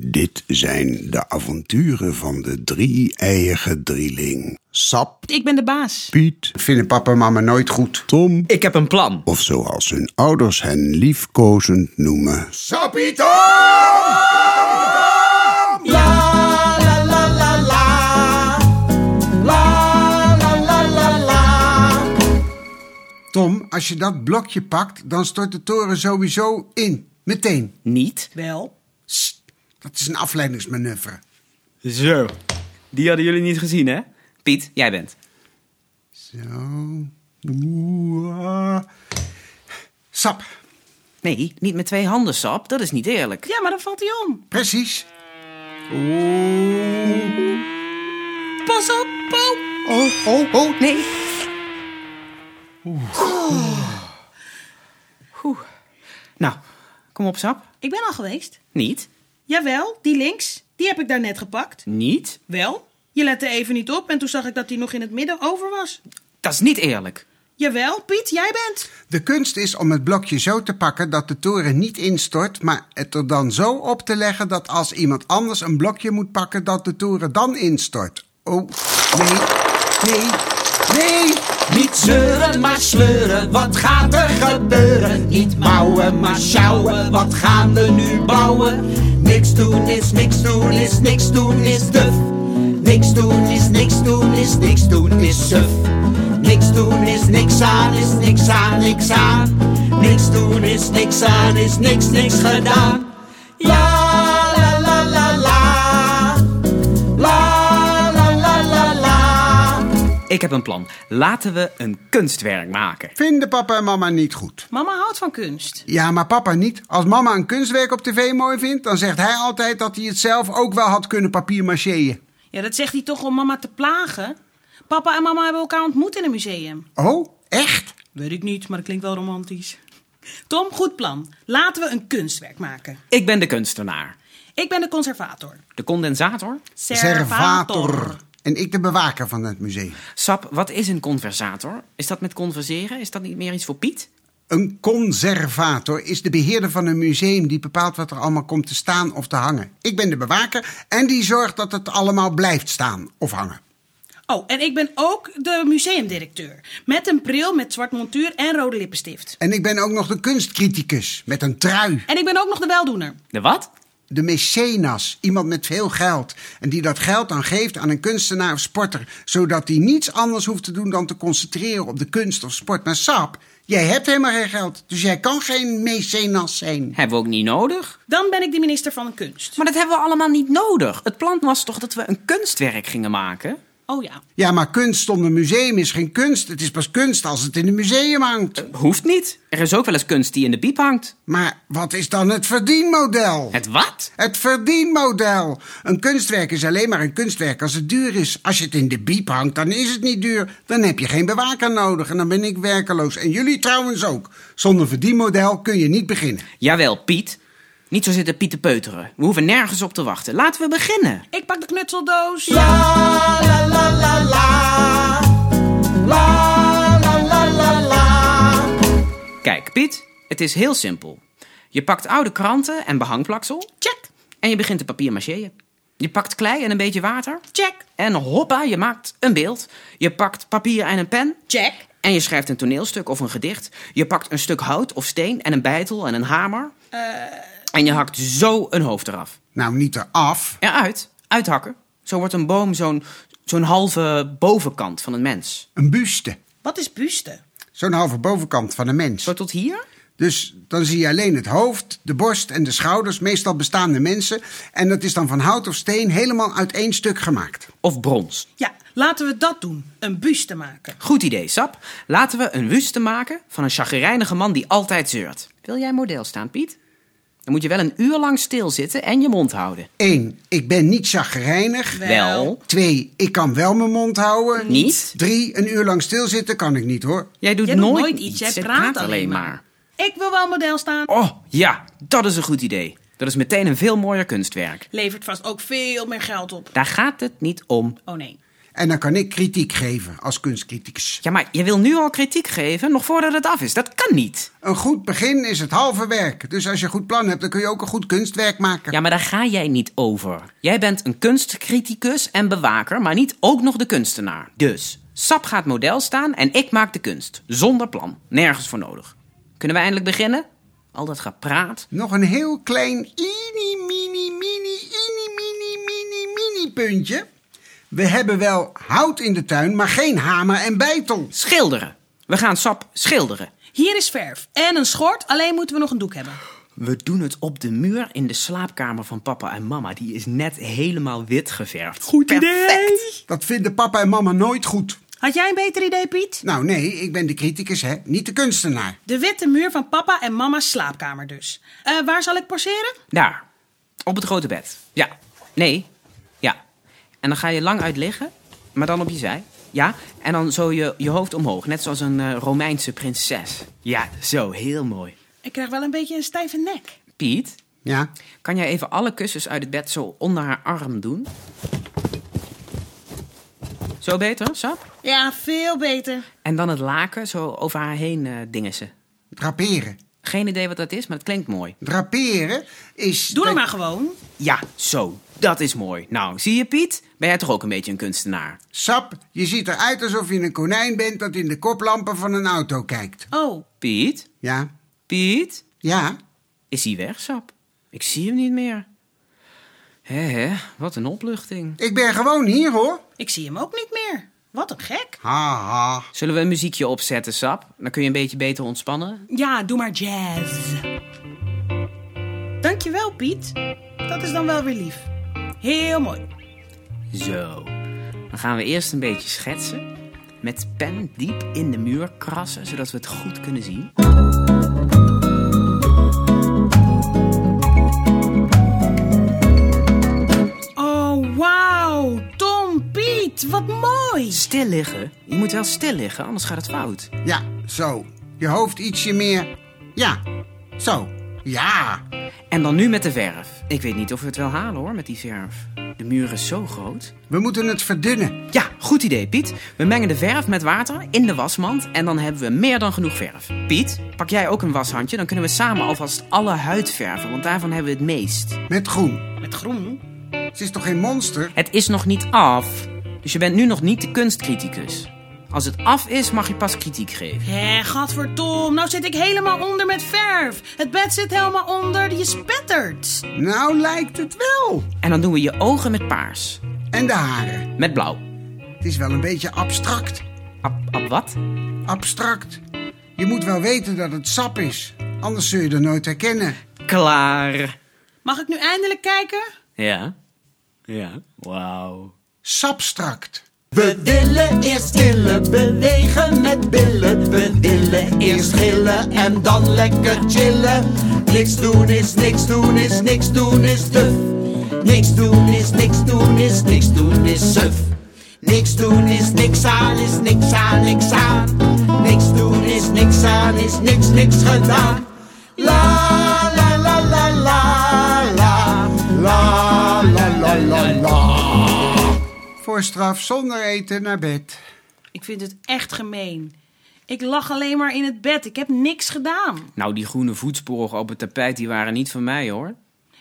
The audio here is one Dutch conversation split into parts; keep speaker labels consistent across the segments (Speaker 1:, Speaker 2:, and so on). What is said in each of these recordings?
Speaker 1: Dit zijn de avonturen van de drie-eige drieling. Sap,
Speaker 2: Ik ben de baas.
Speaker 1: Piet, vinden papa en mama nooit goed. Tom,
Speaker 3: Ik heb een plan.
Speaker 1: of zoals hun ouders hen liefkozend noemen. Sapito! Tom, als je dat blokje pakt, dan stort de toren sowieso in. Meteen.
Speaker 3: Niet?
Speaker 2: Wel.
Speaker 1: Dat is een afleidingsmanoeuvre.
Speaker 3: Zo. Die hadden jullie niet gezien, hè? Piet, jij bent.
Speaker 1: Zo. Oeh. Sap,
Speaker 3: Nee, niet met twee handen, Sap. Dat is niet eerlijk.
Speaker 2: Ja, maar dan valt hij om.
Speaker 1: precies. Oeh.
Speaker 2: Pas op, Paul.
Speaker 1: Oh, oh, oh.
Speaker 2: Nee. Oeh.
Speaker 3: Nou, kom op, Sap.
Speaker 2: Ik ben al geweest.
Speaker 3: Niet?
Speaker 2: Jawel, die links. Die heb ik daarnet gepakt.
Speaker 3: Niet?
Speaker 2: Wel. Je lette even niet op en toen zag ik dat die nog in het midden over was.
Speaker 3: Dat is niet eerlijk.
Speaker 2: Jawel, Piet, jij bent.
Speaker 1: De kunst is om het blokje zo te pakken dat de toren niet instort, maar het er dan zo op te leggen dat als iemand anders een blokje moet pakken, dat de toren dan instort. Oh, nee, nee, nee.
Speaker 4: Niet zeuren, maar sleuren, wat gaat er gebeuren? Niet mouwen, maar sjouwen, wat gaan we nu bouwen? Niks doen is niks doen is niks doen is duf. Niks doen is niks doen is niks doen is suf. Niks doen is niks aan is niks aan niks aan. Niks doen is niks aan is niks niks gedaan. Ja, la la la la. La la la la la.
Speaker 3: Ik heb een plan. Laten we een kunstwerk maken.
Speaker 1: Vinden papa en mama niet goed.
Speaker 2: Mama houdt van kunst.
Speaker 1: Ja, maar papa niet. Als mama een kunstwerk op tv mooi vindt, dan zegt hij altijd dat hij het zelf ook wel had kunnen papier-macheën.
Speaker 2: Ja, dat zegt hij toch om mama te plagen? Papa en mama hebben elkaar ontmoet in een museum.
Speaker 1: Oh, echt?
Speaker 2: Weet ik niet, maar het klinkt wel romantisch. Tom, goed plan. Laten we een kunstwerk maken.
Speaker 3: Ik ben de kunstenaar.
Speaker 2: Ik ben de conservator.
Speaker 3: De condensator?
Speaker 1: En ik de bewaker van het museum.
Speaker 3: Sap, wat is een conversator? Is dat met converseren? Is dat niet meer iets voor Piet?
Speaker 1: Een conservator is de beheerder van een museum die bepaalt wat er allemaal komt te staan of te hangen. Ik ben de bewaker en die zorgt dat het allemaal blijft staan of hangen.
Speaker 2: Oh, en ik ben ook de museumdirecteur. Met een bril met zwart montuur en rode lippenstift.
Speaker 1: En ik ben ook nog de kunstcriticus met een trui.
Speaker 2: En ik ben ook nog de weldoener.
Speaker 3: De wat?
Speaker 1: De mecenas, iemand met veel geld. En die dat geld dan geeft aan een kunstenaar of sporter. Zodat hij niets anders hoeft te doen dan te concentreren op de kunst of sport. Maar Sap, jij hebt helemaal geen geld. Dus jij kan geen mecenas zijn.
Speaker 3: Hebben we ook niet nodig?
Speaker 2: Dan ben ik de minister van kunst.
Speaker 3: Maar dat hebben we allemaal niet nodig. Het plan was toch dat we een kunstwerk gingen maken?
Speaker 2: Oh ja.
Speaker 1: Ja, maar kunst zonder museum is geen kunst. Het is pas kunst als het in een museum hangt.
Speaker 3: Hoeft niet. Er is ook wel eens kunst die in de piep hangt.
Speaker 1: Maar wat is dan het verdienmodel?
Speaker 3: Het wat?
Speaker 1: Het verdienmodel. Een kunstwerk is alleen maar een kunstwerk als het duur is. Als je het in de biep hangt, dan is het niet duur. Dan heb je geen bewaker nodig en dan ben ik werkeloos. En jullie trouwens ook. Zonder verdienmodel kun je niet beginnen.
Speaker 3: Jawel, Piet. Niet zo zitten Piet te peuteren. We hoeven nergens op te wachten. Laten we beginnen.
Speaker 2: Ik pak de knutseldoos.
Speaker 4: La la la la la. La la la la la.
Speaker 3: Kijk, Piet, het is heel simpel. Je pakt oude kranten en behangplaksel.
Speaker 2: Check,
Speaker 3: En je begint te papier macheën. Je pakt klei en een beetje water.
Speaker 2: check,
Speaker 3: En hoppa, je maakt een beeld. Je pakt papier en een pen.
Speaker 2: check.
Speaker 3: En je schrijft een toneelstuk of een gedicht. Je pakt een stuk hout of steen en een beitel en een hamer.
Speaker 2: Eh.
Speaker 3: En je hakt zo een hoofd eraf.
Speaker 1: Nou, niet eraf.
Speaker 3: Eruit. Uithakken. Zo wordt een boom zo'n zo'n halve bovenkant van een mens.
Speaker 1: Een buste.
Speaker 2: Wat is buste?
Speaker 1: Zo'n halve bovenkant van een mens.
Speaker 3: Zo tot hier?
Speaker 1: Dus dan zie je alleen het hoofd, de borst en de schouders, meestal bestaande mensen. En dat is dan van hout of steen helemaal uit één stuk gemaakt.
Speaker 3: Of brons.
Speaker 2: Ja, laten we dat doen. Een buste maken.
Speaker 3: Goed idee, Sap. Laten we een wuste maken van een chagrijnige man die altijd zeurt. Wil jij model staan, Piet? Dan moet je wel een uur lang stilzitten en je mond houden.
Speaker 1: 1. Ik ben niet chagrijnig.
Speaker 3: Wel.
Speaker 1: 2. Ik kan wel mijn mond houden.
Speaker 3: Niet.
Speaker 1: 3. Een uur lang stilzitten kan ik niet hoor.
Speaker 3: Jij doet,
Speaker 2: Jij doet
Speaker 3: nooit,
Speaker 2: nooit iets, jij praat alleen maar. Ik wil wel model staan.
Speaker 3: maar. Oh, ja, dat is een goed idee. Dat is meteen een veel mooier kunstwerk.
Speaker 2: Levert vast ook veel meer geld op.
Speaker 3: Daar gaat het niet om.
Speaker 2: Oh nee.
Speaker 1: En dan kan ik kritiek geven als kunstcriticus.
Speaker 3: Ja, maar je wil nu al kritiek geven, nog voordat het af is. Dat kan niet.
Speaker 1: Een goed begin is het halve werk. Dus als je een goed plan hebt, dan kun je ook een goed kunstwerk maken.
Speaker 3: Ja, maar daar ga jij niet over. Jij bent een kunstcriticus en bewaker, maar niet ook nog de kunstenaar. Dus, Sap gaat model staan en ik maak de kunst. Zonder plan. Nergens voor nodig. Kunnen we eindelijk beginnen? Al dat gepraat.
Speaker 1: Nog een heel klein ini mini mini ini mini mini mini puntje. We hebben wel hout in de tuin, maar geen hamer en bijtel.
Speaker 3: Schilderen. We gaan Sap schilderen.
Speaker 2: Hier is verf en een schort, alleen moeten we nog een doek hebben.
Speaker 3: We doen het op de muur in de slaapkamer van papa en mama. Die is net helemaal wit geverfd.
Speaker 2: Goed idee!
Speaker 1: Dat vinden papa en mama nooit goed.
Speaker 2: Had jij een beter idee, Piet?
Speaker 1: Nou nee, ik ben de criticus, hè, niet de kunstenaar.
Speaker 2: De witte muur van papa en mama's slaapkamer dus. Eh, waar zal ik poseren?
Speaker 3: Daar. Op het grote bed. Ja. Nee. Ja. En dan ga je lang uit liggen, maar dan op je zij. Ja. En dan zo je, je hoofd omhoog, net zoals een eh, Romeinse prinses. Ja, zo. Heel mooi.
Speaker 2: Ik krijg wel een beetje een stijve nek.
Speaker 3: Piet,
Speaker 1: Ja,
Speaker 3: kan jij even alle kussens uit het bed zo onder haar arm doen? Zo beter, Sap?
Speaker 2: Ja, veel beter.
Speaker 3: En dan het laken zo over haar heen eh dingen ze.
Speaker 1: draperen.
Speaker 3: Geen idee wat dat is, maar het klinkt mooi.
Speaker 1: Draperen is...
Speaker 2: Doe het
Speaker 1: dat-
Speaker 2: maar gewoon.
Speaker 3: Ja, zo. Dat is mooi. Nou, zie je Piet? Ben jij toch ook een beetje een kunstenaar?
Speaker 1: Sap, je ziet eruit alsof je een konijn bent dat in de koplampen van een auto kijkt.
Speaker 2: Oh,
Speaker 3: Piet?
Speaker 1: Ja,
Speaker 3: Piet?
Speaker 1: ja.
Speaker 3: Is hij weg, Sap? Ik zie hem niet meer. Hé, hé, wat een opluchting.
Speaker 1: Ik ben gewoon hier, hoor.
Speaker 2: ik zie hem ook niet meer. Wat een gek.
Speaker 1: Haha.
Speaker 3: Zullen we een muziekje opzetten, Sap? Dan kun je een beetje beter ontspannen.
Speaker 2: Ja, doe maar jazz. Dankjewel, Piet. Dat is dan wel weer lief. Heel mooi.
Speaker 3: Zo. Dan gaan we eerst een beetje schetsen. Met pen diep in de muur krassen, zodat we het goed kunnen zien.
Speaker 2: Oh, wauw. Tom, Piet, wat mooi.
Speaker 3: Stil liggen. Je moet wel stil liggen, anders gaat het fout.
Speaker 1: Ja, zo. Je hoofd ietsje meer. Ja, zo. Ja.
Speaker 3: En dan nu met de verf. Ik weet niet of we het wel halen hoor, met die verf. De muur is zo groot.
Speaker 1: We moeten het verdunnen.
Speaker 3: Ja, goed idee, Piet. We mengen de verf met water in de wasmand en dan hebben we meer dan genoeg verf. Piet, pak jij ook een washandje, dan kunnen we samen alvast alle huid verven, want daarvan hebben we het meest.
Speaker 1: Met groen.
Speaker 2: Met groen.
Speaker 1: Ze is toch geen monster?
Speaker 3: Het is nog niet af, dus je bent nu nog niet de kunstcriticus. Als het af is, mag je pas kritiek geven.
Speaker 2: Hé, gadver Tom, nou zit ik helemaal onder met verf. Het bed zit helemaal onder, je spettert.
Speaker 1: Nou lijkt het wel.
Speaker 3: En dan doen we je ogen met paars,
Speaker 1: En de haren.
Speaker 3: met blauw.
Speaker 1: Het is wel een beetje abstract.
Speaker 3: Ab, ab wat?
Speaker 1: Abstract. Je moet wel weten dat het sap is. Anders zul je er nooit herkennen.
Speaker 3: Klaar.
Speaker 2: Mag ik nu eindelijk kijken?
Speaker 3: Ja. Ja. Wauw.
Speaker 1: Sapstract.
Speaker 4: We willen eerst killen, bewegen met billen. We willen eerst gillen en dan lekker chillen. Niks doen is niks doen is niks doen is duf. Niks doen is niks doen is niks doen is suf. Niks doen is niks aan is niks aan niks aan. Niks doen is niks aan is niks niks gedaan. La la la la la la la la la la la.
Speaker 1: Voor straf zonder eten naar bed.
Speaker 2: Ik vind het echt gemeen. Ik lag alleen maar in het bed. Ik heb niks gedaan.
Speaker 3: Nou, die groene voetsporen op het tapijt, die waren niet van mij hoor.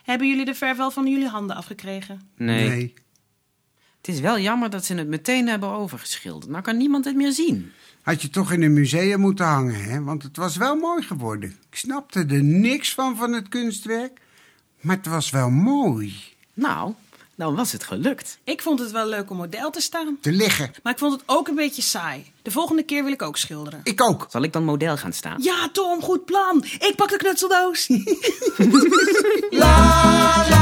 Speaker 2: Hebben jullie de verf wel van jullie handen afgekregen?
Speaker 1: nee.
Speaker 3: Het is wel jammer dat ze het meteen hebben overgeschilderd. Nou kan niemand het meer zien.
Speaker 1: Had je toch in een museum moeten hangen, hè? Want het was wel mooi geworden. Ik snapte er niks van van het kunstwerk. Maar het was wel mooi.
Speaker 3: Nou, dan was het gelukt.
Speaker 2: Ik vond het wel leuk om model te staan.
Speaker 1: Te liggen.
Speaker 2: Maar ik vond het ook een beetje saai. De volgende keer wil ik ook schilderen.
Speaker 1: Ik ook.
Speaker 3: Zal ik dan model gaan staan?
Speaker 2: Ja, Tom, goed plan. Ik pak de knutseldoos.
Speaker 4: La la